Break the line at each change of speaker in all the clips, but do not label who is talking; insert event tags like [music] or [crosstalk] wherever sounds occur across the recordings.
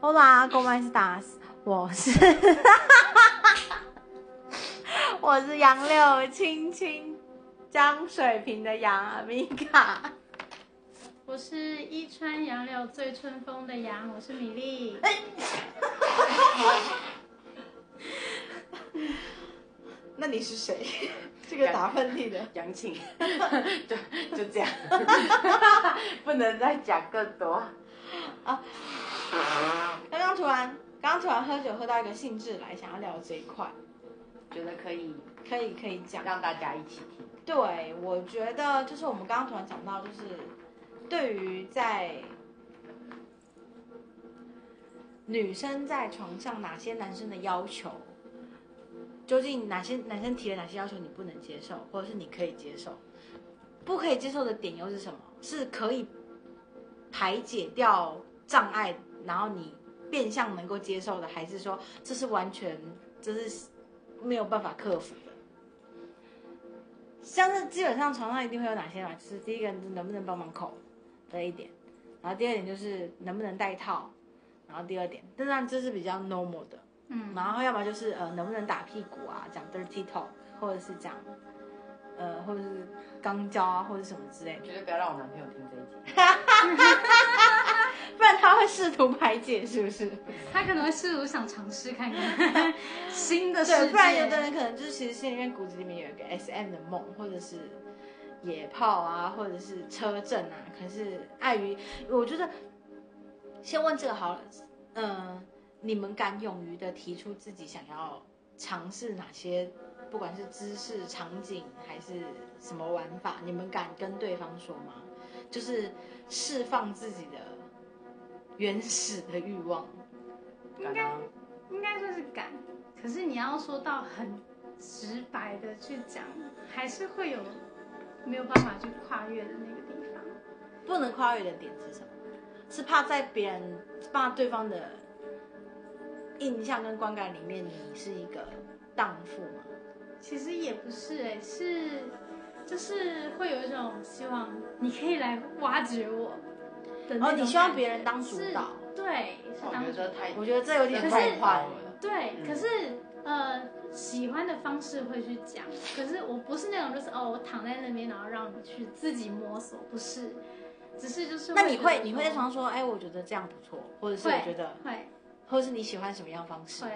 Hola, ¿cómo estás？我
[laughs]
是，我是杨柳青青，江水平的杨阿米卡。
我是一川杨柳醉春风的杨，我是米粒。
那你是谁？ [laughs] 这个打喷嚏的，
杨庆，就就这样，不能再讲更多。啊
刚刚突然，刚刚突然喝酒喝到一个兴致来，想要聊这一块，
觉得可以
可以可以讲。
让大家一起听，
对，我觉得就是我们刚刚突然讲到，就是对于在女生在床上哪些男生的要求，究竟哪些男生提了哪些要求你不能接受，或者是你可以接受，不可以接受的点又是什么？是可以排解掉障碍，然后你变相能够接受的，还是说这是完全这是没有办法克服的？像是基本上床上一定会有哪些嘛？就是第一个能不能帮忙口的一点，然后第二点就是能不能戴套，然后第二点，当然这是比较 normal 的，
嗯，
然后要么就是呃能不能打屁股啊，讲 dirty talk，或者是讲呃或者是肛交啊或者什么之类的，
绝对不要让我男朋友听这一集。
不然他会试图排解是不是？
他可能会试图想尝试
[laughs]
看看新的世界。
对，不然有的人可能就是其实心里面骨子里面有一个 S M 的梦，或者是野炮啊，或者是车震啊，可是碍于我觉得，先问这个好了，嗯、你们敢勇于的提出自己想要尝试哪些，不管是姿势、场景还是什么玩法，你们敢跟对方说吗？就是释放自己的原始的欲望。
刚刚
应该就是敢，可是你要说到很直白的去讲，还是会有没有办法去跨越的那个地方。
不能跨越的点是什么？是怕在别人怕对方的印象跟观感里面，你是一个荡妇吗？
其实也不是哎、是就是会有一种希望，你可以来挖掘我的呃那种
哦，你希望别人
感
当
觉
主
是
导？
对，是
我
当
觉
主
得太
我觉得这有点
可是
太宽了。
了，
对，
嗯
可是
嗯
呃，喜欢的方式会去讲，可是我不是那种就是哦，我躺在那边，然后让你去自己摸索，不是，只是就是
那你
觉
会
得
你会在床上说，哎，我觉得这样不错，或者是
会
我觉得，
会
或者是你喜欢什么样方式？
会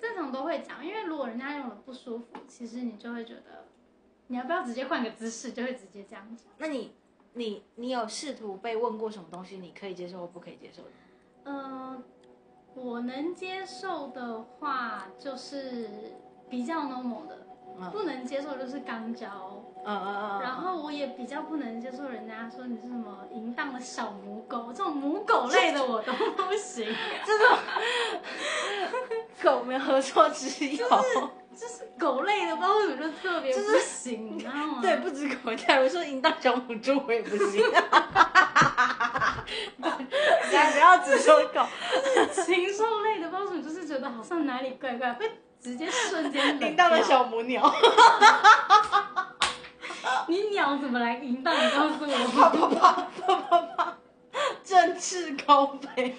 正常都会讲，因为如果人家用了不舒服，其实你就会觉得你要不要直接换个姿势，就会直接这样讲。
那你你你有试图被问过什么东西你可以接受或不可以接受的？嗯
呃，我能接受的话就是比较 normal 的，
嗯
不能接受就是肛交。
嗯嗯嗯嗯。
然后我也比较不能接受人家说你是什么淫荡的小母狗，这种母狗类的我都不行。
狗没有合作之友，
就是狗类的，不知道为什么就特别不行，你知道吗？
对，不止狗，假如说淫荡小母猪我也不 [laughs] 行。
不要只说
[laughs]
狗，
禽兽类的，不知道为什么就是觉得好像哪里怪怪，会直接瞬间冷
淫荡的
掉
小母鸟， [laughs]
你鸟怎么来淫荡？你告诉 [laughs] 我，
振翅高飞。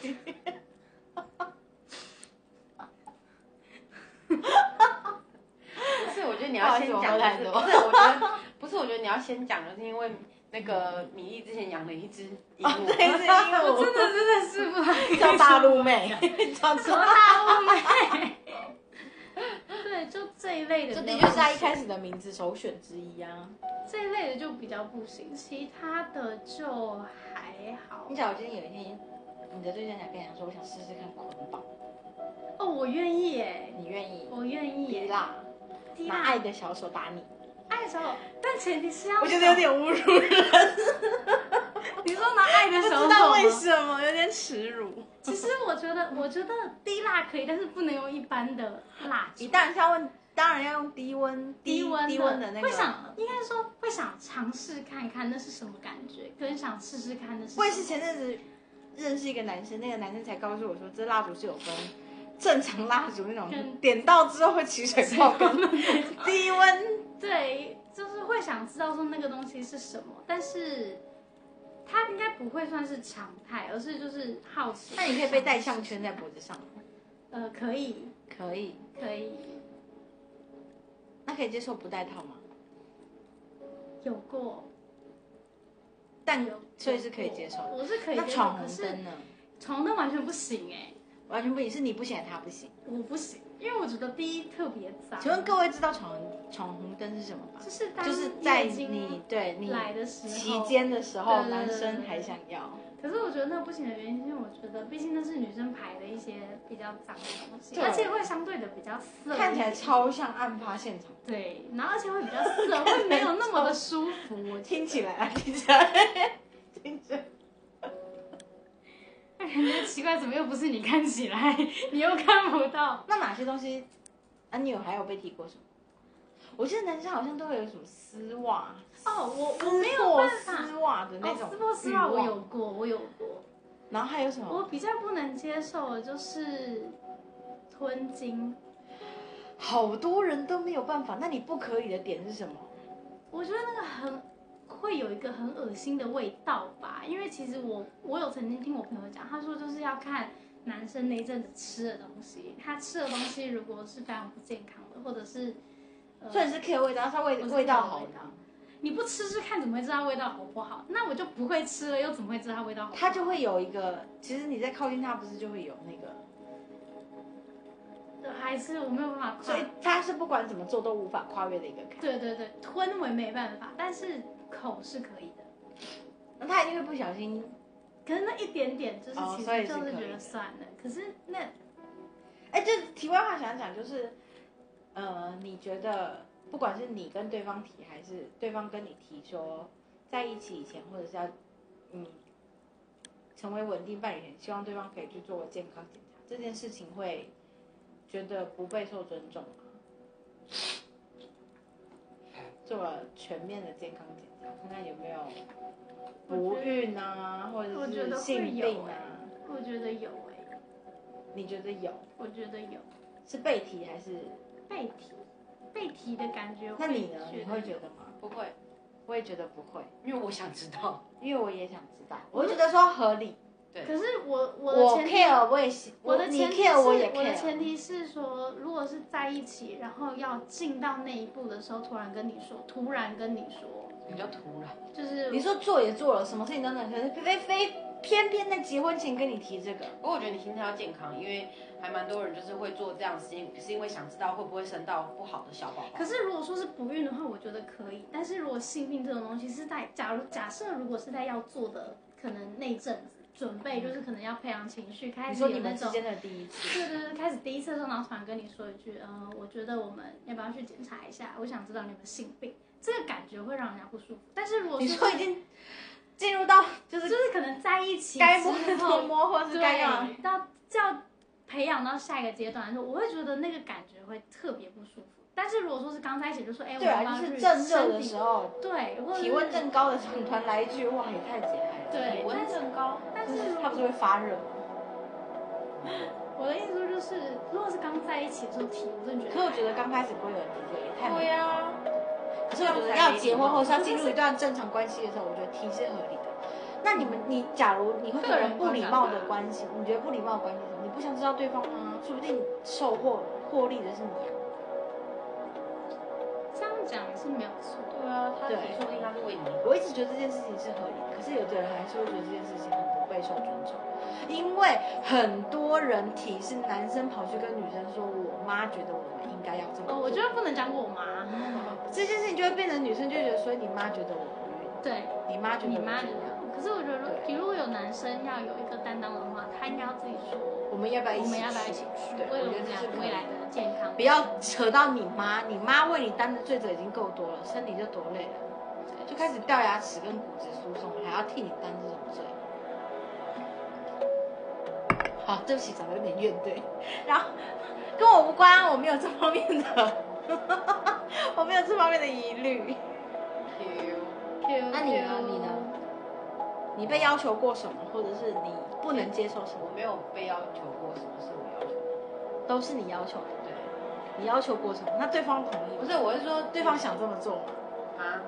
不是，我觉得你要先
不好
讲，
意思
就是
我喝
不是，我觉得不是，我觉得你要先讲，就是因为那个米粒之前养了一 [laughs] 只鹦鹉，
对，是鹦
真的真的是不好意
鹉，[laughs]
思
叫
[laughs]
大陆妹， [laughs] 叫
什么
做。
大物妹？对，就这一类的，
这的确是他一开始的名字首选之一啊。
这一类的就比较不行，其他的就还好
你。假如今天有一天，你的对象想跟你讲说，我想试试看捆绑，
哦，我愿意耶，
你愿意？
我愿意
滴
耶。
蜡，
滴
拿
蜡
爱的小手打你，
爱的时候，但前提是要
我觉得有点侮辱 [laughs] 人，
你说拿爱的
不
时候
知道为什么，有点耻辱。
其实我觉得，我觉得滴蜡可以，但是不能用一般的蜡烛
你。当然是要问，当然要用低温
低温
低温的那个。
会想，应该说会想尝试看看那是什么感觉，跟想试试看那是什么。
我也是前阵子认识一个男生，那个男生才告诉我说，这蜡烛是有分正常蜡烛那种
跟
点到之后会起水泡
[laughs]
跟低温。
对，就是会想知道说那个东西是什么，但是它应该不会算是常态，而是就是好奇。
那你可以被戴项圈在脖子上吗？
呃，可以，
可以。
可以，
那可以接受不戴套吗？
有过，
但
有
所以是可以接受的。
我是可以
那
接受，
闯
可
红
是
灯呢？
闯灯完全不行哎、
完全不行，是你不行，还是他不行。
我不行，因为我觉得第一特别脏。
请问各位知道闯闯红灯是什么吧
就？是啊当
就是在
月经
你对你
来的时候
期，间的时候，
对对对
男
对
生
对
还想要。
可是我觉得那不行的原因，是因为我觉得毕竟那是女生排的一些比较脏的东西，
对
而且会相对的比较涩，
看起来超像案发现场，
对，然后而且会比较涩，会没有那么的舒服。我觉
[laughs] 听起来啊，听起来，听起来，
得感觉奇怪，怎么又不是你看起来，你又看不到？
那哪些东西啊？你有还有被提过什么？我记得男生好像都会有什么丝袜，
哦，我我
撕
没有
破
办法。
丝袜的那
哦
种，
撕破丝袜我有，过，我有过。
然后还有什
我
么？
比较不能接受的就是吞金，
好多人都没有办法，那你不可以的点是什么？
我觉得那个很会有一个很恶心的味道吧，因为其实我我有曾经听我朋友讲，他说就是要看男生那一阵子吃的东西，他吃的东西如果是非常不健康的，或者是、呃
虽然嗯是 K 味道，它味
我是
味道好
味道，你不吃吃看怎么会知道味道好不好？那我就不会吃了，又怎么会知道它味道好不好？
它就会有一个，其实你在靠近它，不是就会有那个，
对还是我没有办法跨
所以它是不管怎么做都无法跨越的一个坎。
对对对，吞我也没办法，但是口是可以的。
那它一定会不小心，
可是那一点点，就是
哦
其
所以
实
是
就是
可
觉
以
得
的
算了。可是那
哎，这题外话想想就是，呃，你觉得不管是你跟对方提，还是对方跟你提说在一起以前，或者是要嗯成为稳定伴侣前，希望对方可以去做健康检查，这件事情会觉得不备受尊重吗？做了全面的健康检查，看看有没有不
我觉得
孕啊，或者
我觉
是
得会
性
有
病
欸
啊，
我觉得有哎、
你觉得有？
我觉得有
是被提还是？
被提，被提的感觉。
那你呢？你会觉得吗？
不会，
我也觉得不会，
因为我想知道。
因为我也想知道。我会觉得说合理，
对
可是我我的
我
前提
care 我也喜，
我的
你
前提是
care 我也
的前
care。
提是说，如果是在一起，然后要进到那一步的时候，突然跟你说，突然跟你说，
比较突然，
就是
你说做也做了，什么事情都能，可是非非偏偏在结婚前跟你提这个，
不过我觉得你心态要健康，因为还蛮多人就是会做这样的事情，是因为想知道会不会生到不好的小宝宝。
可是如果说是不孕的话，我觉得可以。但是如果性病这种东西是在，假如假设如果是在要做的，可能那一阵子准备就是可能要培养情绪，开
你
始
说嗯
有
你
那
们之
种。
间的第一次，
对对对，开始第一次的时候，然后突然跟你说一句，嗯、我觉得我们要不要去检查一下？我想知道你有没有性病，这个感觉会让人家不舒服。但是如果
你
是
说已经进入到就
就是是可能在一起
该摸的
之后
都摸，或是该要
对，啊到要培养到下一个阶段的时候，我会觉得那个感觉会特别不舒服。但是如果说是刚在一起，就说哎，我
对
们要
啊，就
不要
是
去
正热的
身体
时候，
对，或者是
体温正高的时候，你突然来一句哇，也太解嗨了。
对
体温正高，
但
就是是
如
它不是会发热吗？
我的意思说就是，如果是刚在一起的时候体，我真的觉
可
得。
是我觉得刚开始不会有人提这个，也太没
对啊呀、
可是我觉得要结婚或者是要进入一段正常关系的时候，我觉得提是合理的。那你们，你假如你会觉得不礼貌的关系，你觉得不礼貌的关系是什么？你不想知道对方吗？说不定受获获利的是你啊。
这样讲也是没有错。
对啊，他
对
提出的应该是为你。
我一直觉得这件事情是合理的，可是有的人还是会觉得这件事情很不备受尊重，因为很多人提是男生跑去跟女生说，我妈觉得我们应该要这么做。
哦，我觉得不能讲我妈。
这件事情就会变成女生就会觉得，所以你妈觉得我不
对，
孕，你妈觉得
你
我
妈觉
怎样
得。可是我觉得如，如果有男生要有一个担当的话，他应该要自己说，
我们要不要一
我
起去？
们要不要一起去，
对
为
我
了我
觉得
们
这
俩
是可以
未来的健康。
不要扯到你妈，你妈为你担的罪责已经够多了，身体就多累了，就开始掉牙齿跟骨质疏松，还要替你担这种罪。好，对不起，讲的有点怨怼，然后跟我无关，我没有这方面的， [laughs] 我没有这方面的疑虑。那你呢你呢？你被要求过什么，或者是你不能接受什
我
么，
没有被要求过什么是我要求的，
都是你要求的。
对，
你要求过什么？那对方同意吗？
不是，我是说
对方想这么做吗？
啊，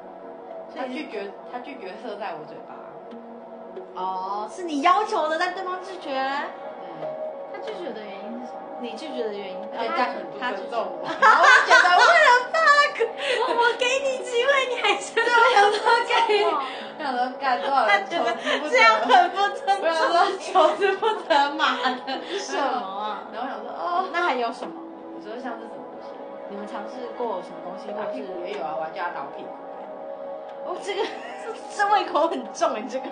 所
他
以
拒绝，他拒绝射在我嘴巴，
哦，是你要求的，但对方拒绝，
嗯，
他拒绝的原因是
[laughs]
什么？
你拒绝的原因，哎
对，
他
这样很不
他拒
尊
绝
重我，然后我就觉得我
我给你机会，你还是
啊
哇
想说干多少人求之不
这样
得，
很不尊
我想
重。
说求之不得嘛的，
什么啊？
然后我想说哦，
那还有什么？
我说像是什么东西，
你们尝试过什么东西，
打
或
屁
是
股也有啊，我还叫他打我屁股，
哦，这个 [laughs] 这胃口很重哎，这个。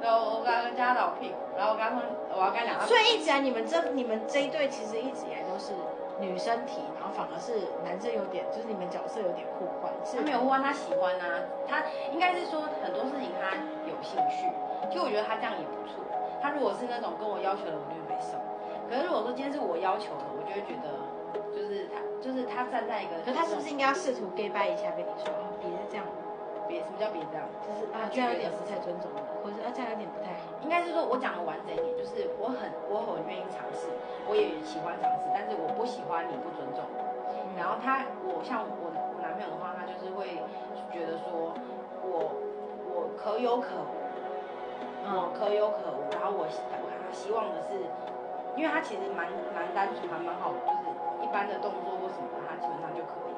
然后我刚刚叫他打我屁股，然后我刚刚我要跟他讲他
所以一直以来啊你们这你们这一对其实一直以来都是女生提，然后反而是男生有点就是你们角色有点互换，是
他没有问他喜欢啊，他应该是说很多事情他有兴趣。其实我觉得他这样也不错。他如果是那种跟我要求的，我就没送。可是如果说今天是我要求的，我就会觉得就是他就是他站在一个，
可是他是不是应该要试图 gay 掰一下，跟你说啊，别这样，
别什么叫别这样？
就是啊，这样有点不太尊重我，或者啊，这样有点不太好。
应该是说我讲的完整一点，就是我很我很愿意尝试，我也喜欢尝试，但是我不喜欢你不尊重我。
嗯
然后他，我像我我男朋友的话，他就是会觉得说我我可有可无，我可有可无。然后我希我他希望的是，因为他其实蛮蛮单纯，蛮蛮好，就是一般的动作或什么的，他基本上就可以。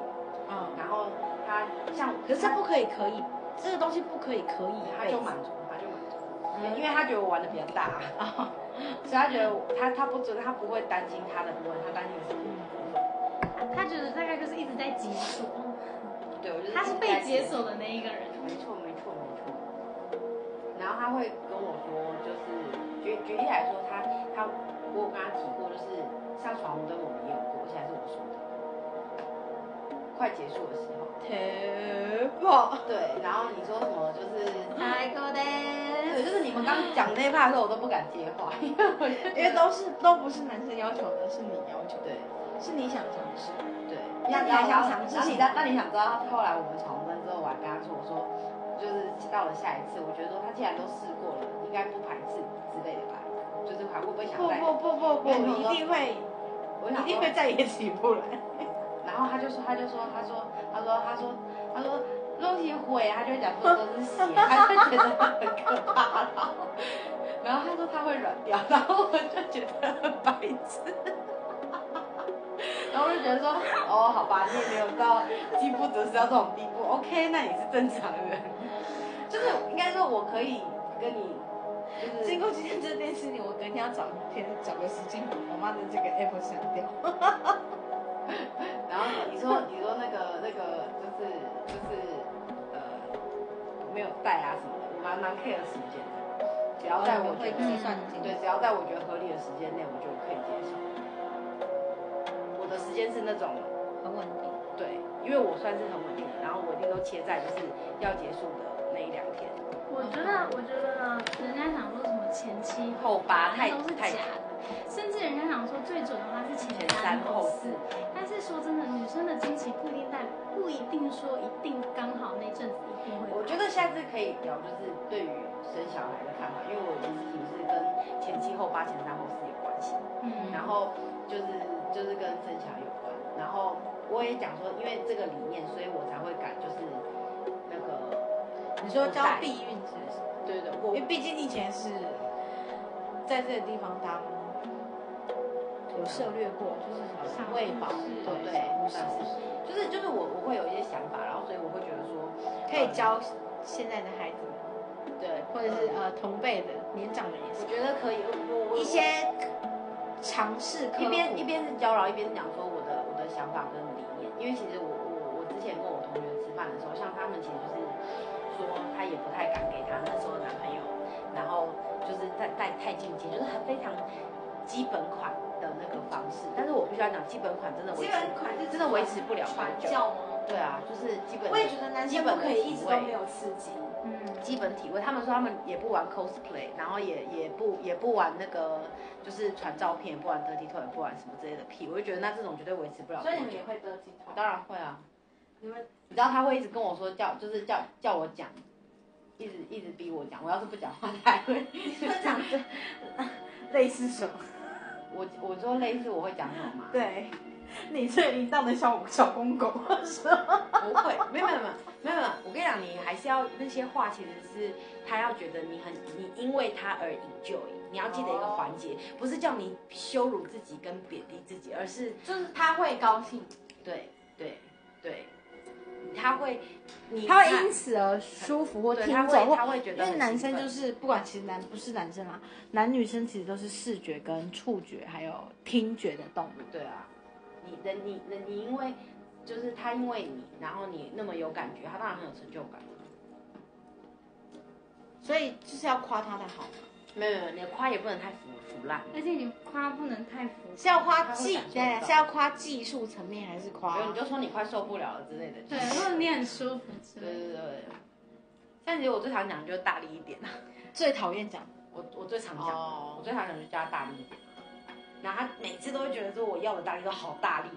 嗯，
然后他像，
可是这不可以，可以，这个东西不可以，可以，
他就满足，他就满足，
嗯
因为他觉得我玩的比较大， [laughs]
啊，
所以他觉得我他他不尊，他不会担心他的部分，他担心的是我的部分。
他觉得大概就是一直在解锁，
对，我就是
他是被解
锁。
锁的那一个人。
没错，没错，没错。然后他会跟我说，就是举举例来说，他他我有跟他提过，就是上床红灯我没有过，而且还是我说的。快结束的时候，
铁炮，
对，然后你说什么就是，
太高的，
对，就是你们刚讲那一趴的时候，我都不敢接话， [laughs] 因为我觉
因为
得
都是都不是男生要求的，是你要求的，
对
是你想尝试。
对。
那你还想尝试
然后
什么
你那那你想知道后来我们闯红灯之后，我还跟他说，我说就是到了下一次，我觉得说他既然都试过了，应该不排斥之类的吧，就是还会不会想
不
再
不不不不，哎你一定会，
我
你
想
一定
说
会再也起不来。
然后他就说，他就说，他说，他说，他说，他说，肉体毁，他就会讲说都是血，他就觉得很可怕然后，然后他说他会软掉，然后我就觉得很白痴。然后我就觉得说，哦，好吧，你也没有到饥不择食到这种地步，OK，那你是正常人。就是应该说，我可以跟你，就是
[laughs] 经过今天这件事情，我隔天要找天找个时间，把我妈的这个 app 删掉。
然后你说你说那个那个就是就是呃没有带啊什么的，我蛮蛮 care 时间的，只要在我觉
会
得、
嗯
计算经
对，只要在我觉得合理的时间内，我就可以接受。我的时间是那种
很稳定。
对，因为我算是很稳定，然后我一定都切在就是要结束的那一两天，
我觉得，我觉得人家想说什么前期
后八太
啊那都是
太
假的，甚至人家想说最准的话是前
前
三
三
后
后
四
四，，
但是说真的，女生的经期不一定代表，不一定说一定刚好那阵子一定会来。
我觉得下次可以聊，就是对于生小孩的看法，因为我的事情是跟前七后八、前三后四有关系，
嗯，
然后就是就是跟生小孩有关，然后我也讲说，因为这个理念，所以我才会敢就是那个，
你说交避孕是不是？
对对，
因
我
为毕竟你以前是在这个地方当有涉略过，就是什么喂饱，
对
对，
对，
小
算
护士
是，就是就是我我会有一些想法，然后所以我会觉得说，
可以教现在的孩子们，
对，
或者是呃同辈的年长的也
我
是
觉得可以，我我
一些尝试科普，
一边一边是交流，一边是讲说我的我的想法跟理念。因为其实我我我之前跟我同学吃饭的时候，像他们其实就是说她也不太敢给她那时候的男朋友，然后就是太太太进阶，就是很非常基本款的那个方式。但是我必须要讲，基本款真的
基
维持
本款是
真的维持不了
传
蛮久。
教吗？
对啊，就是基本
我也觉得男
基
生
本
不
的
可以一直
体
都
位
没有刺激。
嗯，
基本体位，他们说他们也不玩 cosplay，然后也也不也不玩那个，就是传照片，也不玩 dirty toy，也不玩什么之类的屁，我就觉得那这种绝对维持不了多
所
久。
以你们也会得金头？
当然会啊，
你们
你知道他会一直跟我说叫，就是叫叫我讲，一直一直逼我讲，我要是不讲话他还会，
会讲类似什么？
我我说类似我会讲什么吗？
对，
你这淫荡的小小公狗，
不会，没有没有没有没有没有，我跟你讲，你还是要那些话，其实是他要觉得你很你因为他而引咎，你要记得一个环节，不是叫你羞辱自己跟贬低自己，而是
就是他会高兴，
对对对，他会你
他会因此而舒服或
对
听
他
走，
会
或
他会觉
因
得
为
很
男
兴
生
奋
就是不管其实男不是男生啊，男女生其实都是视觉跟触觉还有听觉的动物。
对啊，你的你的你因为就是他因为你，然后你那么有感觉，他当然很有成就感。
所以就是要夸他的好嘛，
没有没有，你的夸也不能太腐腐烂，
而且你夸不能太浮
是要夸技
他会感，受
对啊，
到
是要夸技术层面还是夸
没？有你就说你快受不了了之类的。
对，如果你很舒服之
对
类的，
对对。像其实我最常讲的就是大力一点啊，
最讨厌讲
我我最常讲，我
哦，
最常讲就叫他大力一点，啊然后他每次都会觉得说我要的大力都好大力，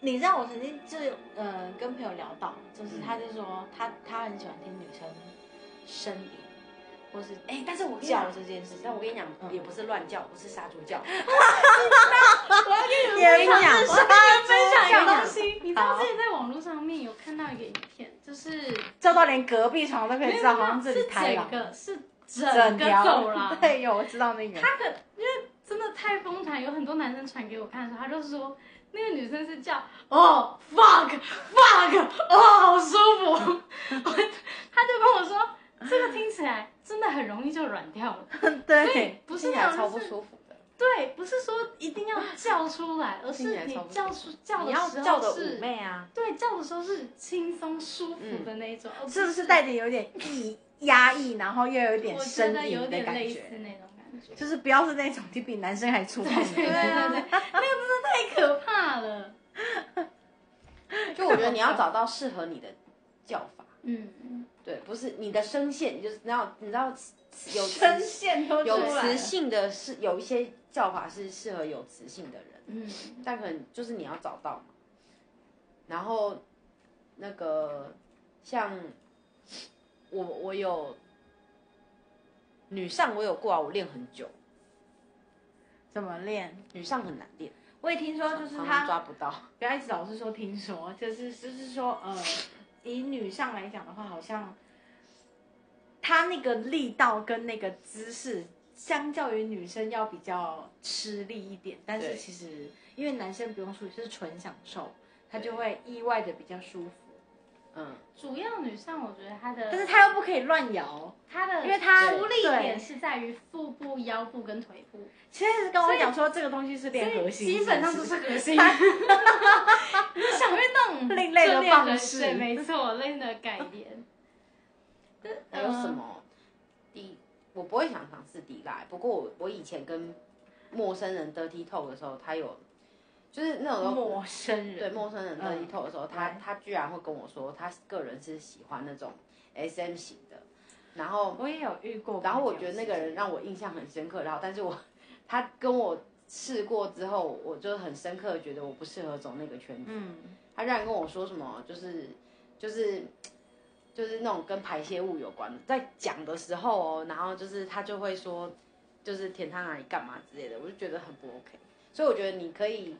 你知道我曾经就是呃跟朋友聊到，就是他就说他他很喜欢听女生呻吟或是
哎，但是我跟你
叫
讲，
这件事情
但。我跟你讲
嗯
也不是乱叫，不是杀猪叫， [laughs]
也不是
我跟
分
讲
享一个
一个东
东西，
你知道之前在网络上面有看到一个影片，就是
叫到连隔壁床都可以知道，好像这里
是
开
整
了
个是
整
整个走
条 [laughs]
廊，
对，有我知道那个。
他的因为真的太疯传，有很多男生传给我看的时候，他就说那个女生是叫哦 fuck fuck 哦好舒服， [laughs] 我他就跟我说这个听起来真的很容易就软掉了，所以
对，
不
不
是那
超
种
不
就是
舒服的，
对，不是说一定要叫出来，而
听起
是
来
你
超不
叫出叫
你
的
要
时
叫的
候
妩
是。
媚啊，
对，叫的时候是轻松舒服的那一种，而
嗯是不是带着有点抑压抑，然后又有点
我觉
呻
得有
吟的
点
感
类似
觉？
那种感觉，
就是不要是那种 [laughs] 你比男生还粗犷的
[laughs] 对
那种。 [laughs]
对对，那个真的太可怕了。
[laughs] 就我觉得你要找到适合你的叫法，
嗯，
对，不是你的声线，你就是你要你知道有磁
声线都
有
出来
磁
了
性的是有一些叫法是适合有磁性的人，
嗯，
但可能就是你要找到嘛。然后那个像我我有女上我有过啊，我练很久，
怎么练？
女上很难练，
我也听说，就是
常常
他
抓不到。
不要一直老是说听说，就是就是说，呃，以女上来讲的话，好像她那个力道跟那个姿势，相较于女生要比较吃力一点。但是
对
其实因为男生不用处理，就是纯享受，他
对
就会意外的比较舒服。
嗯，
主要女上我觉得她的，
但是他又不可以乱摇，
她的，
因为他
出力
对
点是在于腹部、腰部跟腿部，
其实是跟我讲说这个东西是练核心，
基本上都
是
是核心。
[laughs]
你想运动，
另类的
就练
方
核
式
对没错，类的改变。
还
嗯
有什么？低，我不会想尝试低拉，不过我我以前跟陌生人 dirty talk 的时候，他有就是那种时候
陌生
对
人，嗯
陌生人的一透的时候，他他居然会跟我说，他个人是喜欢那种 S M 型的，然后
我也有遇过。
然后我觉得那个人让我印象很深刻，然后但是我他跟我试过之后，我就很深刻地觉得我不适合走那个圈子。
嗯，
他居然跟我说什么，就是就是就是那种跟排泄物有关的，在讲的时候哦，然后就是他就会说，就是舔他哪里干嘛之类的，我就觉得很不 OK。所以我觉得你可以，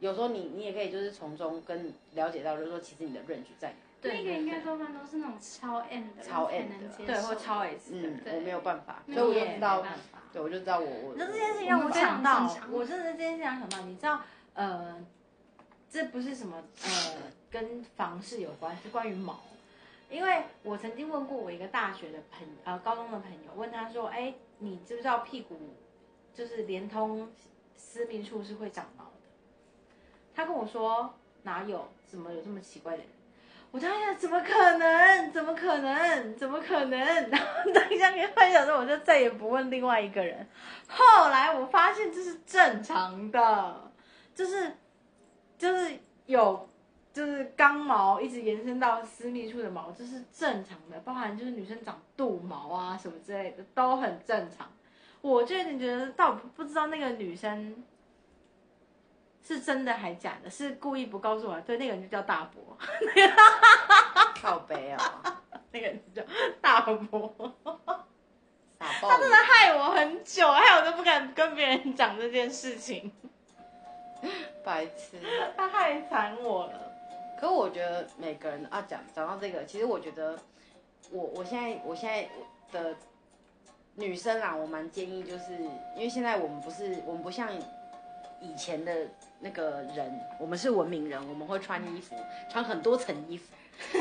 有时候你你也可以就是从中跟了解到，就是说其实你的 range 在哪。
那个
[laughs] 对
应该多半都是那种超 M 的，
超 M
才
的
能接受。
对或超 S 的人
嗯，
对
我没有办法，
那
所以我就
也
知道
没，办法
对，我就知道我我。
嗯那这件事情
我
让我想到
我们非常正，常
我真的这件事情让我想到，你知道，呃，这不是什么呃跟房事有关，是关于毛。因为我曾经问过我一个大学的朋呃高中的朋友，问他说，哎，你知不知道屁股就是连通私密处是会长毛的？他跟我说哪有，怎么有这么奇怪的人？我当时想怎么可能？怎么可能？怎么可能？ [laughs] 然后等一下跟分享的时候，我就再也不问另外一个人。后来我发现这是正常的，就是就是有就是刚毛一直延伸到私密处的毛，这是正常的，包含就是女生长肚毛啊什么之类的都很正常。我就有点觉得，到底不知道那个女生是真的还假的，是故意不告诉我的。对，那个人就叫大伯，
靠背哦，
[laughs] 那个人就叫大伯。 [laughs]
傻爆眼。
[laughs] 害我很久，害我都不敢跟别人讲这件事情。
白痴。
他害惨我了。
可我觉得每个人啊，讲讲到这个，其实我觉得我我现在我现在的女生啦，我蛮建议，就是因为现在我们不是我们不像以前的那个人，我们是文明人，我们会穿衣服， [laughs] 穿很多层衣服。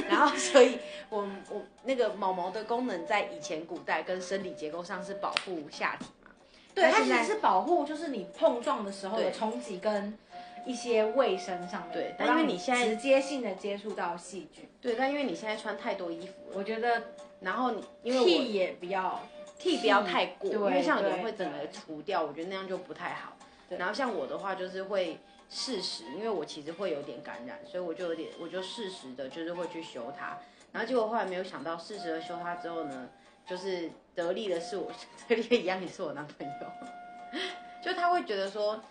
然后，所以我们我那个毛毛的功能在以前古代跟生理结构上是保护下体嘛，
对，它
它
其
现在
实是保护，就是你碰撞的时候的
对
冲击跟一些卫生上面。
对
不
但因为
让
你现在
直接性的接触到细菌，
对，但因为你现在穿太多衣服了，
我觉得
然后你因为我
屁也不要，
剃不要太过，
嗯对
因为像有
对
人会整个除掉，我觉得那样就不太好。然后像我的话，就是会适时，因为我其实会有点感染，所以我就有点，我就适时的，就是会去修它。然后结果后来没有想到，适时的修它之后呢，就是得力的是我， [laughs] 得力的一样也是我男朋友， [laughs] 就他会觉得说，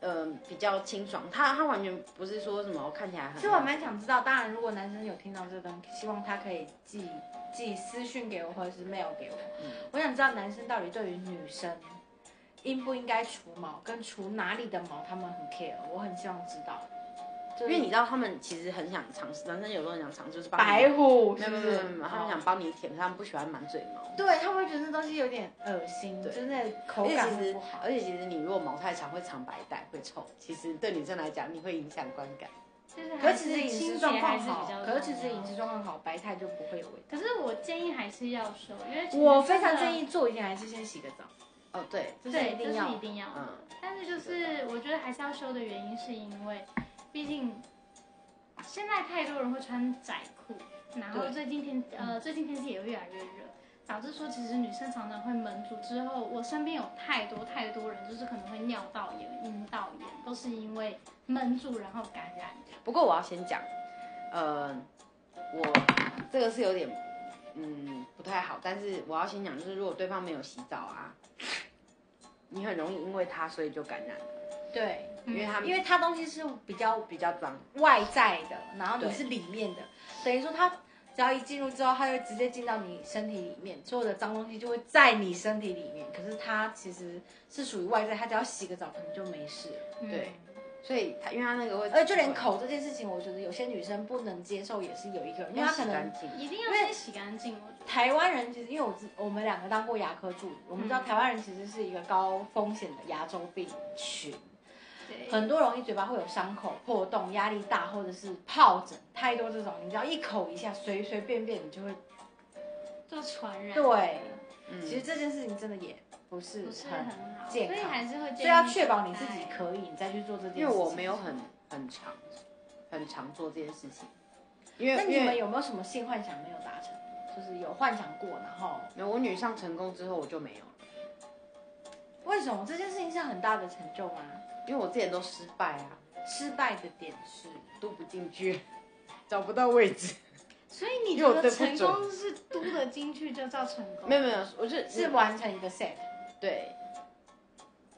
嗯、比较清爽，他他完全不是说什么看起来很，
其实我蛮想知道，当然如果男生有听到这个东西，希望他可以寄寄私讯给我或者是 mail 给我。
嗯
我想知道男生到底对于女生应不应该除毛，跟除哪里的毛，他们很 care，我很希望知道。就
因
是
为你知道他们其实很想尝试，男生有时候很想尝试，就是帮你嗯
白哦虎
没
是
有
不
没有没
是
有没有，他们想帮你舔，可他们不喜欢满嘴毛。
对，他们会觉得那东西有点恶心，就
对
是那口
而且
感
其
会
实
不好，。
而且其实你如果毛太长会长白带，会臭。其实对女生来讲，你会影响观感。
就是
可
还
是其实饮
清
食
洁
状
还
况
是
好
比较重，
可
要。
是其实饮食状况好，白菜就不会有味
可是我建议还是要修，因为其
道。
实
我非常
真的
建议做一件还是先洗个澡，
哦，对，
这是
对，
一
这
定
是
要
一。定要的。
嗯
但是就是我觉得还是要修的原因，是因为毕竟现在太多人会穿窄裤，然后
对
最近天呃最近天气也越来越热，导致说其实女生常常会闷住。之后我身边有太多太多人就是可能会尿道炎、阴道炎，都是因为闷住然后感染的。
不过我要先讲，呃，我这个是有点，嗯，不太好。但是我要先讲，就是如果对方没有洗澡啊，你很容易因为他所以就感染，
对，
因为他
嗯因为它东西是比较
比较脏。
外在的，然后你
对
是里面的，等于说它只要一进入之后，它就直接进到你身体里面，所有的脏东西就会在你身体里面。可是它其实是属于外在，它只要洗个澡可能就没事了。
嗯
对所以他因为他那个
呃
会，
呃而就连口这件事情，我觉得有些女生不能接受，也是有一个，因为
要
她
洗
可能
干净。
一定要先洗干净。我觉得
台湾人其实，因为我知我们两个当过牙科助理，我们知道台湾人其实是一个高风险的牙周病群，
对，
很多容易嘴巴会有伤口、破洞、压力大或者是疱疹，太多这种，你只要一口一下，随随便便你就会。
就传染，
对，
嗯，
其实这件事情真的也不是
不是很好，所
健
以
康
还是会建议
所以要确保你自
戴
己可以，你再去做这件事情。
因为我没有很很长很常做这件事情，因
那
为
你
因为
们有没有什么性幻想没有达成？就是有幻想过，然后
没有，我女上成功之后我就没有了，
为什么这件事情是很大的成就吗？
因为我之前都失败啊，
失败的点是，
嘟不进去， [laughs] 找不到位置。
[laughs] 所以你
因为
觉
我
得
对不
成
准
功是嘟得进去就叫成功？
没有没有，我是
是完成一个 set，
对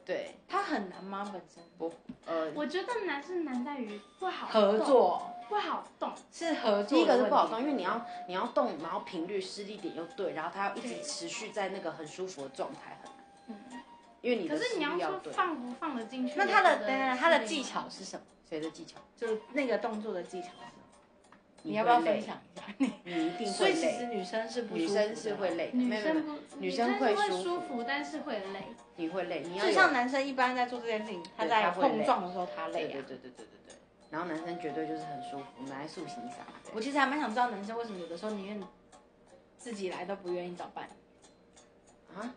对
它很难吗？本身
不呃，
我觉得难是难在于不好
合
动，
作
不好动，
是合作，
第一个是不好动，因为你要你要动，然后频率施力点又对，然后它要一
对
直持续在那个很舒服的状态很难，
嗯，
因为你
可
的
是
施
你
力
要
要
说
对。
放不放得进去，
那他的
我觉
等
得
等，
是
他的
另
技
外
巧是什么？
谁的技巧？
就是那个动作的技巧是什么？你要
会
不要
累
分？享一下？你
你一定
所
会
以其实
累，
女生是不
女
舒服的
生是会累的，
女
没有没有
生
没有，
不，
女
生
生会舒
舒
服
服，但是会累。
你会累，你要
就
有
像男生一般在做这件事情，他在
他会累
碰撞的时候他累啊
对。对对对对对对。然后男生绝对就是很舒服，拿来塑形啥的。
我其实还蛮想知道男生为什么有的时候宁愿自己来都不愿意找伴侣，
啊，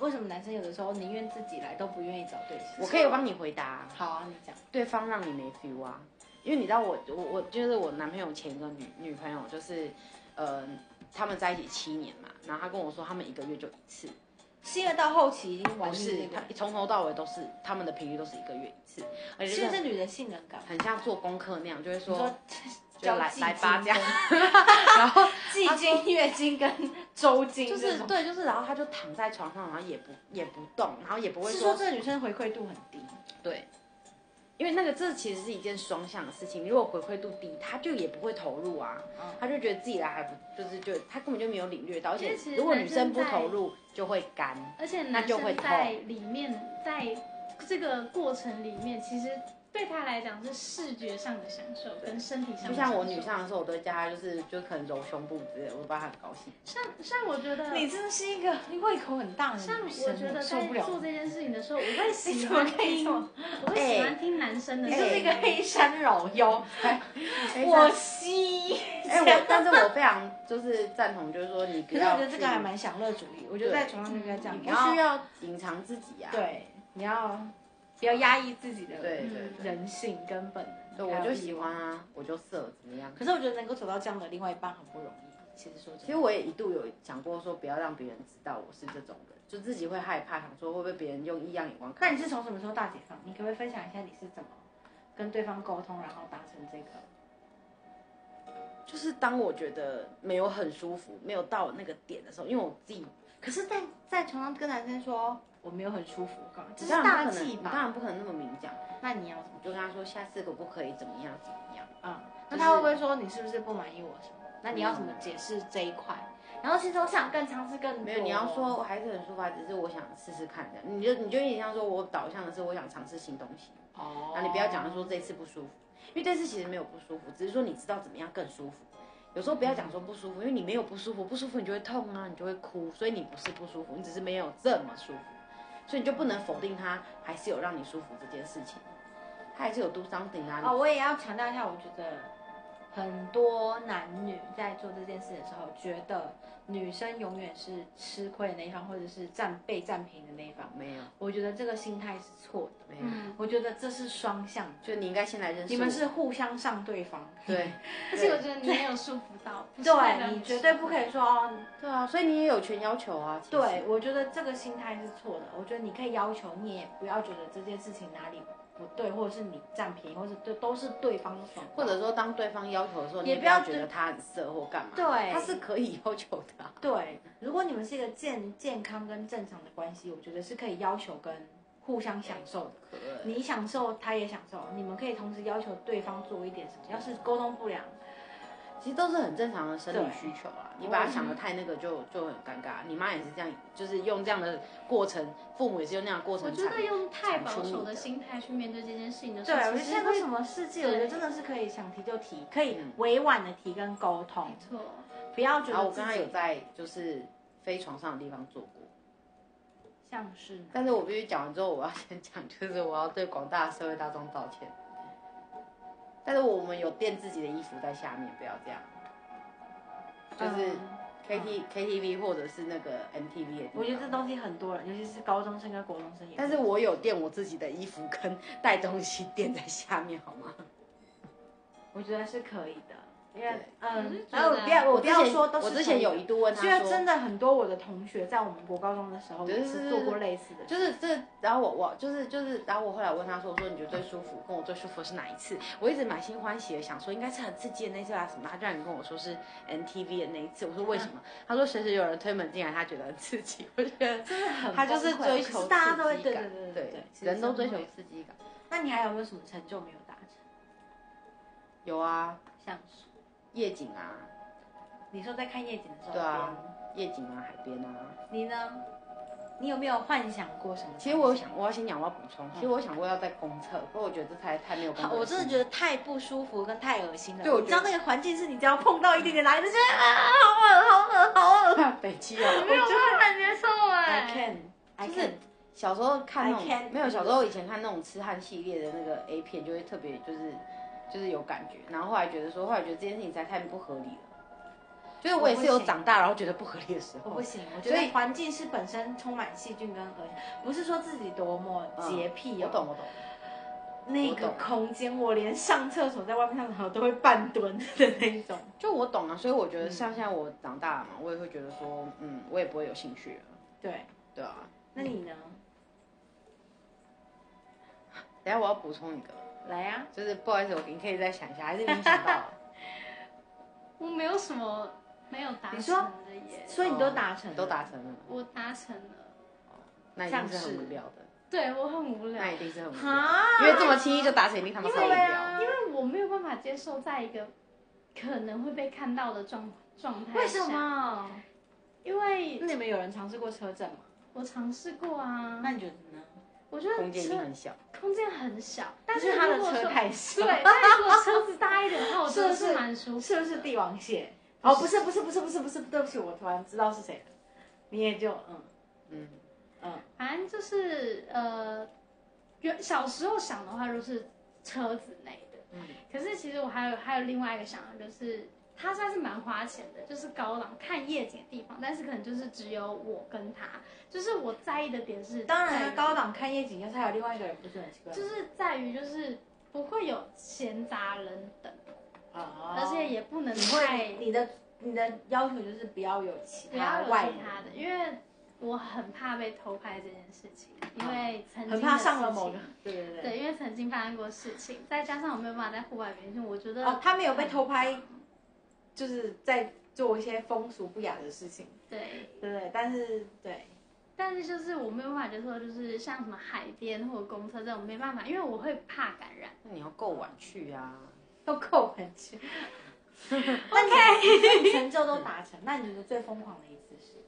为什么男生有的时候宁愿自己来都不愿意找对象？
我可以帮你回答、
好啊，你讲。
对方让你没 feel 啊，因为你知道我我我就是我男朋友前一个女女朋友就是，呃，他们在一起七年嘛，然后他跟我说他们一个月就一次，
是因为到后期已经玩
不
腻
是
那
他
个，
从头到尾都是他们的频率都是一个月一次，而且
是因为
就是
这女的性能感。
很像做功课那样，就会
你
说
说
就
叫
来
季
来吧这样，
经、季经、月经 [laughs] 跟周经
[laughs] 就
这
是
种，
对就是，然后他就躺在床上，然后也不也不动，然后也不会
是说这女生回馈度很低，
对，因为那个这其实是一件双向的事情。你如果回馈度低，他就也不会投入啊，
嗯
他就觉得自己来还不就是就他根本就没有领略到，而
因
且
为其实
如果
男
女
生
生不
在
投入就会干。
而且
那
男
就会
生在里面在这个过程里面，其实对他来讲是视觉上的享受跟身体上
就
的享受。
像我女上的时候，我都会叫她就是就可能揉胸部之类的，我爸很高兴。
像像我觉得，
你真的是一个胃口很大的
像
女
我
生，
觉得
受
在
不了。
做这件事情的时候，我会
你
喜
怎么
欢
可以
听，
这么
我会喜欢听男生的
你
声
就
音。
是一个黑山老妖， [laughs] 我
我
吸。
哎、我但是我非常就是赞同，就是说你
可
不
是
要
我觉得这个还
去
蛮享乐主义，我觉得在床上就应该这样，
你
你
不
要
需要隐藏自己啊。
对，你要不要压抑自己的
对对对
嗯
人性跟本能？
对，
还
我
有
就
欲
喜
望
欢啊，我就色怎么样？
可是我觉得能够走到这样的另外一半很不容易。其实说真
其实
的，
我也一度有想过说，不要让别人知道我是这种人，就自己会害怕，想说会不会别人用异样眼光
那
看
你
我。
是从什么时候大解放？你可不可以分享一下你是怎么跟对方沟通，然后达成这个？
就是当我觉得没有很舒服，没有到那个点的时候，因为我自己
可是在，在床上跟男生说我没有很舒服，干嘛？这是
当
大
然不可能，
忌
你当
吧？
然不可能那么明讲，
那你要怎么
我就跟他说下次可不可以怎么样怎么样？啊
嗯，
就
那
是
他会不会说你是不是不满意我什么？那你要怎么解释这一块？然后其实我想更尝试更多。
没有，你要
哦
说我还是很舒服啊，只是我想试试看这样。你就你就有点像说我导向的是我想尝试新东西，
哦，
那你不要讲说这次不舒服，因为这次其实没有不舒服，只是说你知道怎么样更舒服。有时候不要讲说不舒服，因为你没有不舒服，不舒服你就会痛啊，你就会哭，所以你不是不舒服，你只是没有这么舒服，所以你就不能否定它还是有让你舒服这件事情，它还是有 do something 啊。
啊，我也要强调一下，我觉得很多男女在做这件事的时候，觉得女生永远是吃亏的那一方，或者是占被占平的那一方。
没有
我觉得这个心态是错的，
没有，
嗯，
我觉得这是双向的，
就你应该先来认识
你们
我
是互相上对方。
对
而且我觉得你没有束缚到，不是代表
对你
舒
绝
服
对不可以说哦，
对啊，所以你也有权要求啊。其实
对，我觉得这个心态是错的。我觉得你可以要求，你也不要觉得这件事情哪里不对，或者是你占便宜，或者对都是对方爽，
或者说当对方要求的时候，你
也
不
不要
要觉得他很色或干嘛，
对
他是可以要求的啊、
对。如果你们是一个健健康跟正常的关系，我觉得是可以要求跟互相享受的。
可以。
你享受，他也享受，你们可以同时要求对方做一点什么。要是沟通不良，
其实都是很正常的生理
对
需求啊，你把它想的太那个就就很尴尬。你妈也是这样，就是用这样的过程，父母也是用那样的过
我
程
觉
产
得用太保
产出
守
你
的
的
心态去面对这件事情的时
对
候，
我
其
现
实
在
会
什么世界，我觉得真的是可以想提就提，可以委婉的提跟沟通
没，错。
不要觉
然后
得
我
自
跟他有
己
在就是非床上的地方做过，
像是
但是我必须讲完之后，我要先讲，就是我要对广大社会大众道歉。但是我们有垫自己的衣服在下面，不要这样。就是
嗯
K T、K T V 或者是那个 M T V 的地方，
我觉得这东西很多人，尤其是高中生跟国中生也会。
但是我有垫我自己的衣服跟带东西垫在下面，好吗？
我觉得是可以的，因为
对
我是
嗯，
觉
然后
得
我不要我不要
之前
说都是
我之前有
同
一度问
学，虽
他
然真
说，
的很多我的同学在我们国高中的时候
对对
也
对
是做过类似的事，
就是这，然后我我就是就是，然后我后来问他说，我说你觉得最舒服，跟我最舒服的是哪一次？我一直满心欢喜的想说，应该是很刺激的那次啊什么，他居然跟我说是 NTV 的那一次，我说为什么？他说随时有人推门进来，他觉得很刺激，我觉得
真的很
他就是
崩溃
追求
可是大家都会
刺激
对
感
对对对
对，
其实
人都追求
真的会
刺激感。
那你还有没有什么成就没有达成？
有啊，
像是
夜景啊，
你说在看夜景的时候，
对啊，夜景啊，海边啊。
别人你呢？你有没有幻想过什么东西？
其实我有想，我要先讲，我要补充。其实我有想过要在公厕，不过我觉得这太太没有公德
好，
心。
我真的觉得太不舒服跟太恶心了。
对我
你知
觉
道
得
那个环境是你只要碰到一点点来的，就觉得啊，好恶，好恶，好恶。
得 [laughs] 北极哦，
没有办法接受
I
哎，
can，I
就
can
是。小时候看那
I
种
can't
没有，小时候以前看那种痴汉系列的那个 A 片，就会特别就是就是有感觉，然后后来觉得说，后来觉得这件事情实在太不合理了，就是我也是有长大然后觉得不合理的时
我
候
不，行，我觉得环境是本身充满细菌跟恶心，不是说自己多么洁癖、
我
哦。
懂我懂，
那个空间，我连上厕所在外面上厕所都会半蹲的那一种。
就我懂啊，所以我
嗯
觉得像现在我长大了嘛，我也会觉得说，嗯，我也不会有兴趣了，
对，
对啊。
[laughs] 那你呢？
等一下我要补充一个，
来啊呀、
就是不好意思，我你可以再想一下，还是你想
[laughs]
到了？
我没有什么没有达
你说
成的耶，
所以哦你都达成了、
都达成了，
我达成了。
那一定是很无聊的，
对我很无聊
那，一定是很无聊，
啊？
因为这么轻易就达成，一定他妈超无
对
聊。
啊，
因为我没有办法接受在一个可能会被看到的状状态下。
为什？么？
因为
那你们有人尝试过车震吗？
我尝试过啊，
那你觉得呢？
我觉得
空间一
车
定很小，
空间很小，但
就是
是
他的
如果
车
说
太小，
对，但是如果车子大一点的话，我真的
是
是蛮舒服。
是不是帝王蟹？哦，不是，不是，不是，不是，不是，对不起，我突然知道是谁了。你也就嗯，
嗯，
反正就是呃，原小时候想的话就是车子内的，
嗯
可是其实我还有还有另外一个想法，就是它算是蛮花钱的，就是高档看夜景的地方，但是可能就是只有我跟他，就是我在意的点是在于，
当然啊高档看夜景，要是还有另外一个人，不是很奇怪吗？
就是在于就是不会有闲杂人等，
啊
而且也不能
你
太
会你的你的要求就是不要有其
不要
他
有
啊外人，
其他的，因为我很怕被偷拍这件事情，因为曾经
啊很怕
的
上
事
了某
情
个，对对对。
对，因为曾经发生过事情，再加上我没有办法在户外边，就我觉得、
哦，他没有被偷拍，就是在做一些风俗不雅的事情，
对，
对不对？但是对，
但是就是我没有办法接受，就是像什么海边或者公车这种没办法，因为我会怕感染。
那你要够晚去啊。
都扣回去。OK，成就都达成。那你觉得最疯狂的一次是？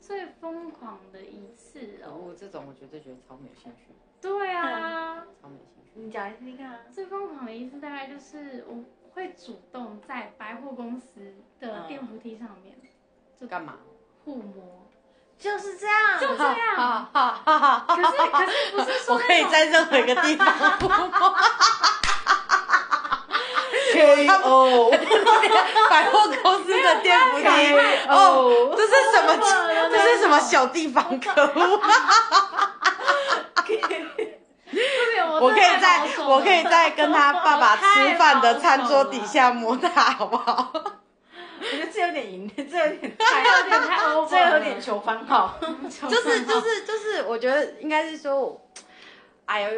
最疯狂的一次
然
哦，
后这种我绝对觉得超没有兴趣，
对啊，
嗯
超没有兴趣。
你讲来听听看啊。
最疯狂的一次大概就是我会主动在百货公司
嗯
的电扶梯上面
干嘛？
互
[laughs]
摸，
就是这样，
就这
啊
样。可是可是不是说
我可以
那种
在任何一个地方 K O，百货公司的店铺梯哦，这是什么？这是什么小地方？可恶！
对
我可以在
太保守了
我可以在跟他爸爸吃饭的餐桌底下摸他，好不好？
我觉得这有点赢，这有
[laughs]
点，
还有点太 [laughs] over，
这有点求番号。
就是就是就是，我觉得应该是说，哎呀，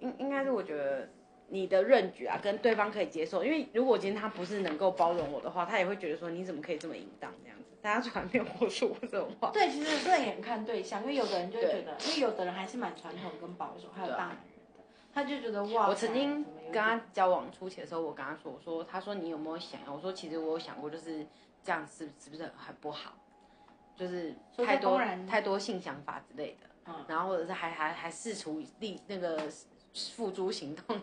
应应该是我觉得你的认举啊，跟对方可以接受，因为如果今天他不是能够包容我的话，他也会觉得说你怎么可以这么淫荡这样子。大家从来没有过说我这种话，
[laughs] 对，其实这也看对象，因为有的人就会觉得，因为有的人还是蛮传统跟保守，还有大男人的，他就觉得哇塞。
啊我曾经
怎么有
跟他交往初期的时候，我跟他说，我说，他说你有没有想要？我说其实我有想过，就是这样是是不是很不好？就是
所以
太
就
多
公然
太多性想法之类的，
嗯
然后或者是还还还试图立那个付诸行动，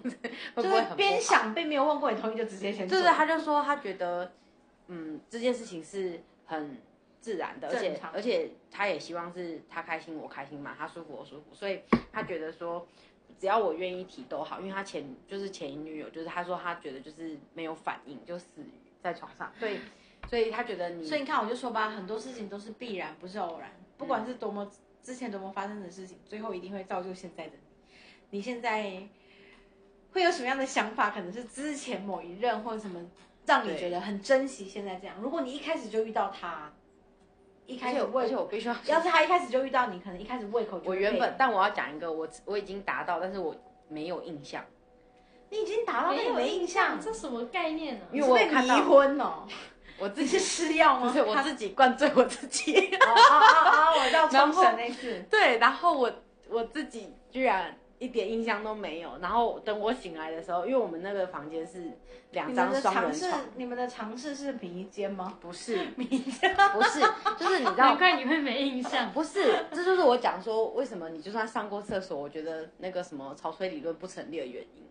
会
就
不会
是
很不
边
好？
想边没有问过你同意就直接先做。
就是他就说他觉得，嗯，这件事情是很自然的，而且
正常
而且他也希望是他开心我开心嘛，他舒服我舒服，所以他觉得说只要我愿意提都好，因为他前就是前一女友，就是他说他觉得就是没有反应就死于在床上，所以所以他觉得你
所以你看，我就说吧，很多事情都是必然，不是偶然。不
嗯
管是多么之前多么发生的事情，最后一定会造就现在的你。你现在会有什么样的想法？可能是之前某一任或者什么，让你
对
觉得很珍惜现在这样。如果你一开始就遇到他，一
而
开
且
始
我而
胃
且，我必须要说
要是他一开始就遇到你，可能一开始胃口就
我
会
原
被
本，但我要讲一个我我已经达到，但是我没有印象，
你已经达到那
没
个
有
没印象，
这什么概念啊呢、
因
你
为
是
我
被
有看
迷
到
昏哦， [laughs]
我自
你是
己
吃药吗？
不是我
他
自己灌醉我自己。
哦哦哦哦，我
[laughs]
到
然
冲
后
绳那次，
对，然后我我自己居然一点印象都没有。然后等我醒来的时候，因为我们那个房间是两
你
张
们的
双
尝
人
试
床，，
你们的尝试是迷奸吗？[laughs]
不是
迷奸。
不是，就是你知
难
道。
怪你会没印象。
不是，这就是我讲说为什么你就算上过厕所，我觉得那个什么潮吹理论不成立的原因，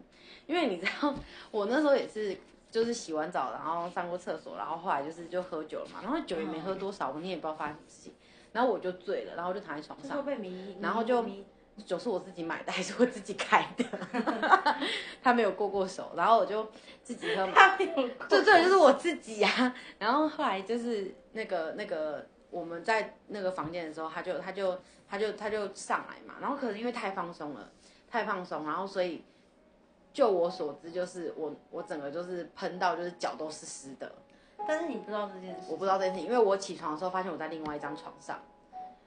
因为你知道我那时候也是就是洗完澡，然后上过厕所，然后后来就是就喝酒了嘛，然后酒也没
嗯
喝多少，你也不知道发生什么事情，然后我就醉了，然后我就躺在床
就是
上
会，被迷，
然后就
迷
酒是我自己买的 [laughs] 还是我自己开的？ [laughs] 他没有过过手，然后我就自己喝嘛。
[laughs] 他没有过
对对，就是我自己啊。然后后来就是那个那个我们在那个房间的时候，他就他就他就他就上来嘛。然后可能因为太放松了，太放松，然后所以就我所知，就是我我整个就是喷到就是脚都是湿的。
但是你不知道这件事，
我不知道这件事情，因为我起床的时候发现我在另外一张床上，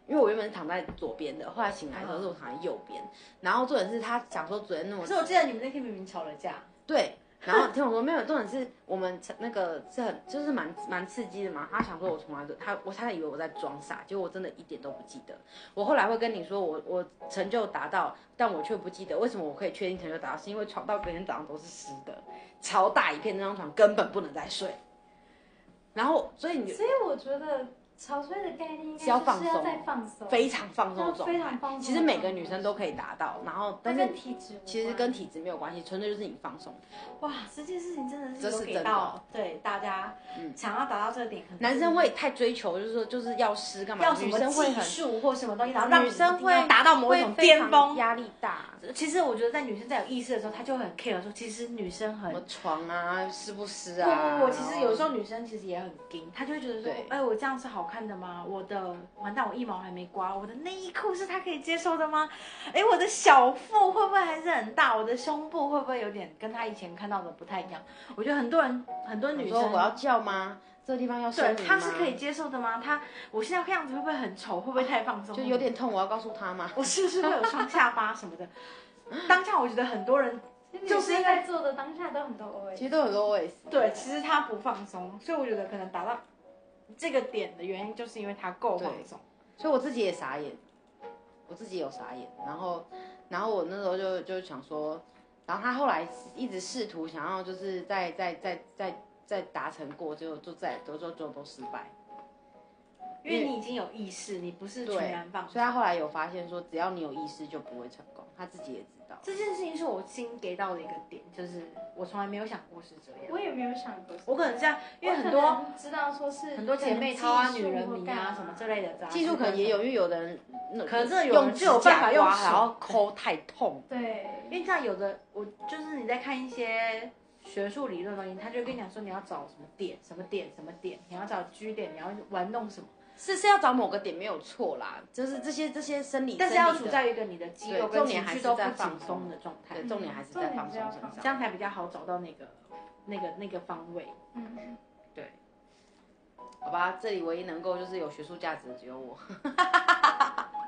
因为我原本是躺在左边的，后来醒来的时候是我躺在右边。然后重点是他想说昨天那么
可是我记得你们那天明明吵了架，
对，然后听我说没有，重点是我们那个是很就是蛮蛮刺激的嘛。他想说我从来都他我他以为我在装傻，结果我真的一点都不记得。我后来会跟你说我我成就达到，但我却不记得为什么我可以确定成就达到，是因为床到隔天早上都是湿的，超大一片那张床根本不能再睡。然后所以你就
所以我觉得潮吹的概念应该
是要
就
放
是要
松
再放
哦
松，
非常放松的
要非
状态
常放。松
其实每个女生都可以达到，然后嗯但
它
是
跟体质无关，
其实跟体质没有关系，纯粹就是你放松。
哇，这件事情真的
这
是
是
有给
真的
到对大家
嗯
想要达到这个点，可能
男生会太追求，就是说就是要湿干嘛？
要什
女
么
生会
技
很
术或什么东西，然后让
女
你
生
一定要
会
达到某一种
会非
巅
常
峰。
压力大。
其实我觉得，在女生在有意识的时候，她就会很 care 说，其实女生很
什么床啊，湿不湿
不
啊？
不不，其实有时候女生其实也很硬，她就会觉得说
对，
哎，我这样是好看的吗？我的完蛋，我一毛还没刮，我的内衣裤是她可以接受的吗？哎，我的小腹会不会还是很大？我的胸部会不会有点跟她以前看到的不太一样？我觉得很多人很多
你
女
说
生
我要叫吗？这个地方要收
对
你
她
吗
是可以，接受的吗？她我现在这样子会不会很丑？会不会太放松？
就有点痛，我要告诉他吗？
我是不是会有双下巴什
[laughs]
么的？当下我觉得很多人
就
就是是
因
因为
在做的当下都很多 OA，
其实都有 always
对，其实他不放松，所以我觉得可能达到这个点的原因，就是因为他够放松。
所以我自己也傻眼，我自己有傻眼，然后，然后我那时候就就想说，然后他后来一直试图想要就是再再再再再达成过，结果就再都都都都失败，
因为你已经有意识，你不是全
对
然放，
所以他后来有发现说，只要你有意识就不会成功，他自己也知道。
这件事情是我新给到的一个点，就是我从来没有想过是这样。
我也没有想过，
我可能这样，因为
我可
很多
能知道说是
很多姐妹
可
掏
能
啊、
技
女
术
人
或
迷
干
啊
嘛
什么之类的杂志，
技术可能也有，因为有的人那
可能真的有人
用
就有
指甲
办法用
刮
手
还要抠太痛，
对，
因为这样有的我就是你在看一些学术理论的东西，他就会跟你讲说你要找什么点、什么点、什么点，你要找 G 点，你要玩弄什么，
是是要找某个点没有错啦，就是这些这些生理，
但是要
生理
处
的
在一个你的肌肉
对
跟
重点
情
还
绪
是
都不
在
紧
放
松
松
的状态
对，重点还是在放松身
这
上。
样才比较好找到那个那个那个方位。
嗯，
对，好吧，这里唯一能够就是有学术价值的只有我。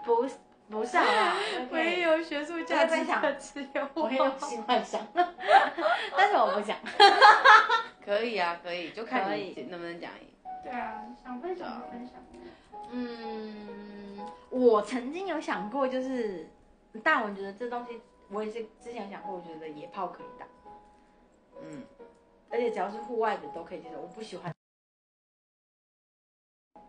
不是不是好不好？
唯一有学术价值的只有
我
我
可以用心幻想， [laughs] 但是我不想。
[laughs] 可以啊，可以，就看
可
你能不能讲。
对啊，想分享就分享，
嗯，我曾经有想过，就是大文觉得这东西，我也是之前有想过，我觉得野炮可以打，
嗯，
而且只要是户外的都可以接受。我不喜欢，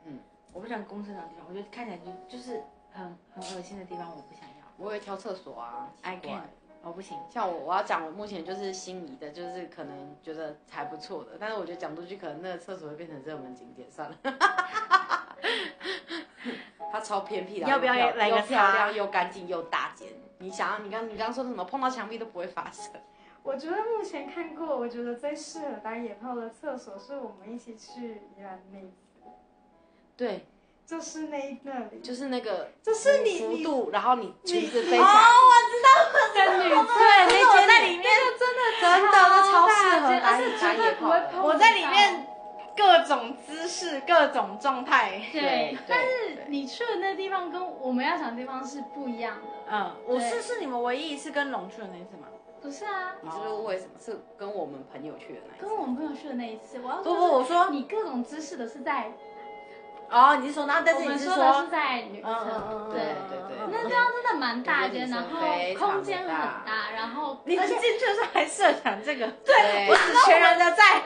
嗯，
我不喜欢公厕那种地方，我觉得看起来就就是很很恶心的地方，我不想要。
我会挑厕所啊
爱
奇怪
看，我不行。
像我，我要讲我目前就是心仪的，就是可能觉得还不错的，但是我觉得讲出去，可能那个厕所会变成热门景点，算了。 [laughs] 它超偏僻的，
要不要
又漂
来个
又漂
叉
亮又干净又大间？你想要，你刚你刚刚说的什么碰到墙壁都不会发生？
我觉得目前看过，我觉得最适合打野炮的厕所是我们一起去宜兰那一次，
对，
就是那那里，
就是那个
就是你
幅
你
度，然后你裙子飞起
哦，
来，
我
的女
知道，对，没觉得在里面
真的那超适合打
而
野
且
打
绝
野
对
炮
不会碰
的。
到
我在里面各种姿势、各种状态。
对，
但
是你去的那地方跟我们要想的地方是不一样的，
嗯，我
对
是是你们唯一一次跟龙去的那一次吗？
不是啊？
你是不是误会什么？是跟我们朋友去的那一次？
跟我们朋友去的那一次，我要
不
说
不，我说
你各种姿势的是在，
哦，你是说那，但
我
是你
们
是
说
说，
的是在女
嗯嗯
厕，
嗯，
对
对。
对对
嗯
那
嗯
地方真的蛮大间，
我觉得
然
女
后空
生非常地
间很
大
大，然后
你
而
是
且
进去的时候还设想这个，
对
我只全然的在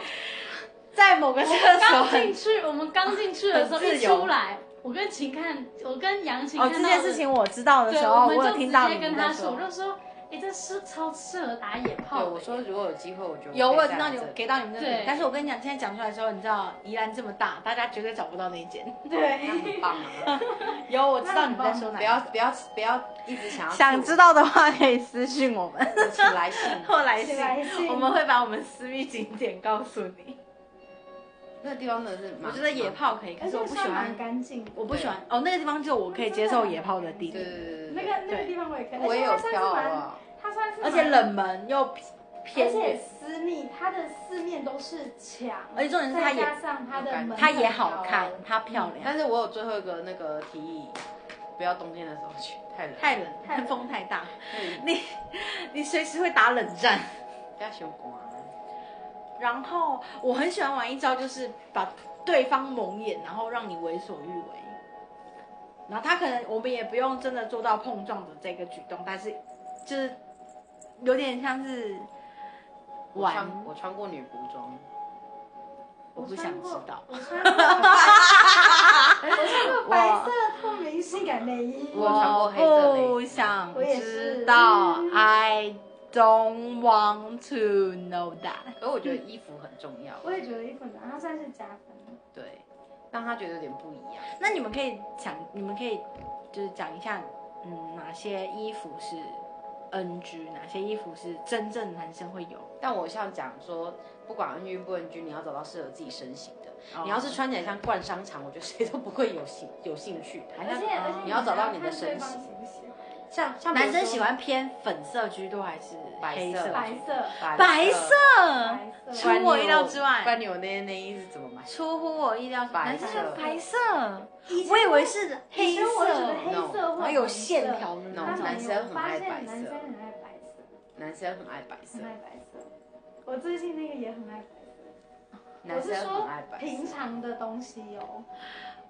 在某个厕所
刚
很
进去，我们刚进去的时候
很
一
自由
出来，我跟秦看，我跟杨琴
哦，
看
这
到
件
的
事情我知道的
对，
时候，
们
我有
就
听
直
到
接
你
跟
们
他
在
说，我
说，
就说，哎，这是超适合打野炮
对，
的。
我说如果有机会，我觉得
有我
可
有
以
听到
带
你
来这
给到你们这里
对，
但是我跟你讲，现在讲出来的时候，你知道宜兰这么大，大家绝对找不到那一间。
那
对，
很棒
[laughs]
啊！
有，我知道你们在说哪一
不
个，
要不要不要一直想
[laughs]
要
想知道的话可以私信我 [laughs] 们，
道，请来信。
或来
请来
信，[laughs]
信
我们会把我们私密景点告诉你。
那地方真的是蛮，
我觉得野炮可以，可
而
是我
且
不
算
喜欢
蛮，干净的。
我不喜欢哦，那个地方就我可以接受野炮的地
对，对
点，
对对对
那
对，
个那个
对
地方我也啊可以，
我也有
而且它算是
挑好不
蛮，
好？
它算是
而
蛮
且，冷门又
而
偏
且
远，
私密，它的四面都是墙，
而且重点是它
再
也
加上它的门，
它也好看，，它漂亮，
但是我有最后一个那个提议，不要冬天的时候去，太冷，
太冷，嗯
太冷
风太大，
冷，
你 [laughs] 你随时会打冷战。
不要喜欢啊。
然后我很喜欢玩一招，就是把对方蒙眼，然后让你为所欲为。然后他可能我们也不用真的做到碰撞的这个举动，但是就是有点像是
我
玩，
穿我穿过女仆装，
我不想知道。
我穿过。我是
[laughs]
那个白色透明性感内衣。
我有穿过黑色内衣
我不想
我也是
知道，I don't want to know that。
可我觉得衣服很重要，
我也觉得衣服很难，它算是加分。
对，让他觉得有点不一样。
那你们可以讲，你们可以就是讲一下，嗯，哪些衣服是 NG，哪些衣服是真正男生会有？
但我想讲说，不管 N 均不 N 均，你要找到适合自己身形的。
哦
你要是穿起来像逛商场，我觉得谁都不会有兴有兴 [laughs] 趣。还
而
像
且而且
哎嗯你要找到你的
看对
身
方喜
形，
不喜欢
像像比如
男生
说
喜欢偏粉色居多还是
白
黑
色
白色
白色，
嗯
白色
出我意料之
不然
外，
你有那内衣是怎么买？
出乎我意料之外，
白
男
色
生喜欢白色，我以为是黑
以前我也觉
色
得，黑色或
然后有线条的
红色，
那
但
种
我
男生很
发
爱
现
白色
男生很爱白色，
男生很爱白色
很，爱白色。我最近那个也很爱白色，
男生很爱
我是说
白色
平。常的东西哦。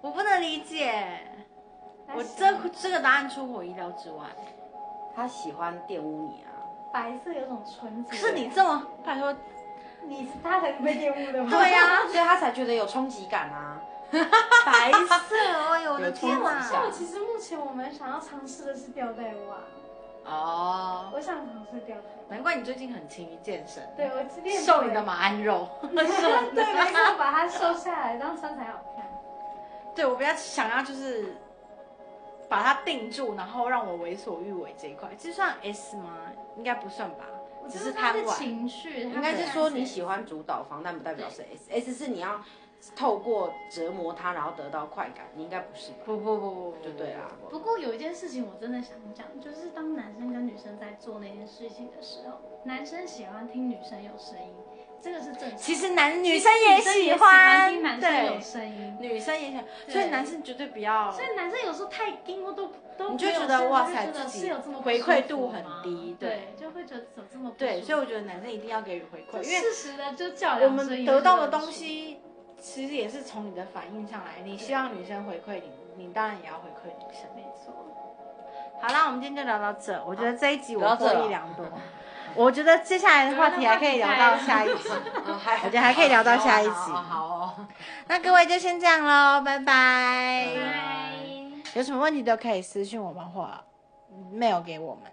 我不能理解。
但
我
是
这这个答案出乎我意料之外。
他喜欢玷污 [laughs] 你啊！
白色有种纯洁。
可是你这么，拜托，
你是他才是被玷污的吗？
对呀、
所以他才觉得有冲击感 [laughs] 啊。
白
[laughs]
色，哎呦我的
有
天
冲
哪
击！
但我其实目前我们想要尝试的是吊带袜，
哦，
我想尝试吊带袜。
难怪你最近很勤于健身，
对，我今天
瘦你的马鞍肉。 [laughs]
对，没错，把它瘦下来，这样穿才好看。
对我比较想要就是把它定住，然后让我为所欲为这一块，这算 S 吗？应该不算吧，
我
只
觉得它
贪
是
玩。
情绪，
应
应
该是说你喜欢主导方，但不代表是 S。S 是你要透过折磨他，然后得到快感，你应该不是吧？
不不不不，
就对啦。
不过有一件事情我真的想讲，就是当男生跟女生在做那件事情的时候，男生喜欢听女生有声音，这个是正常。
其实男女
女
生也
喜
喜
欢
欢
听，男生有
对，
声音，
女生也喜欢，
对
所以男生绝对不要。
所以男生有时候太硬，我都都
你就
没有
觉得
声音
哇
就会
塞
觉
自
得
己
是有这么不
回馈
舒服
度很
吗
低
对，就会觉得怎么这么不
对，
舒
所以我
服
觉得男生一定要给予回馈，
这
因为
事实的就较
我
量声
们
音
得
就
到
是
的
很
东
舒服
西其实也是从你的反应上来，你希望女生回馈你，你当然也要回馈女生。
没错。
好啦，我们今天就聊到这。我觉得这一集
聊
我
到这
获
了
益良多。我觉得接下来的话题还可以聊到下一
[laughs]
集，
啊，还
我觉得还可以聊到下一集。
好好哦，
那各位就先这样喽，拜拜。
拜
拜。
有什么问题都可以私信我们或 mail 给我们。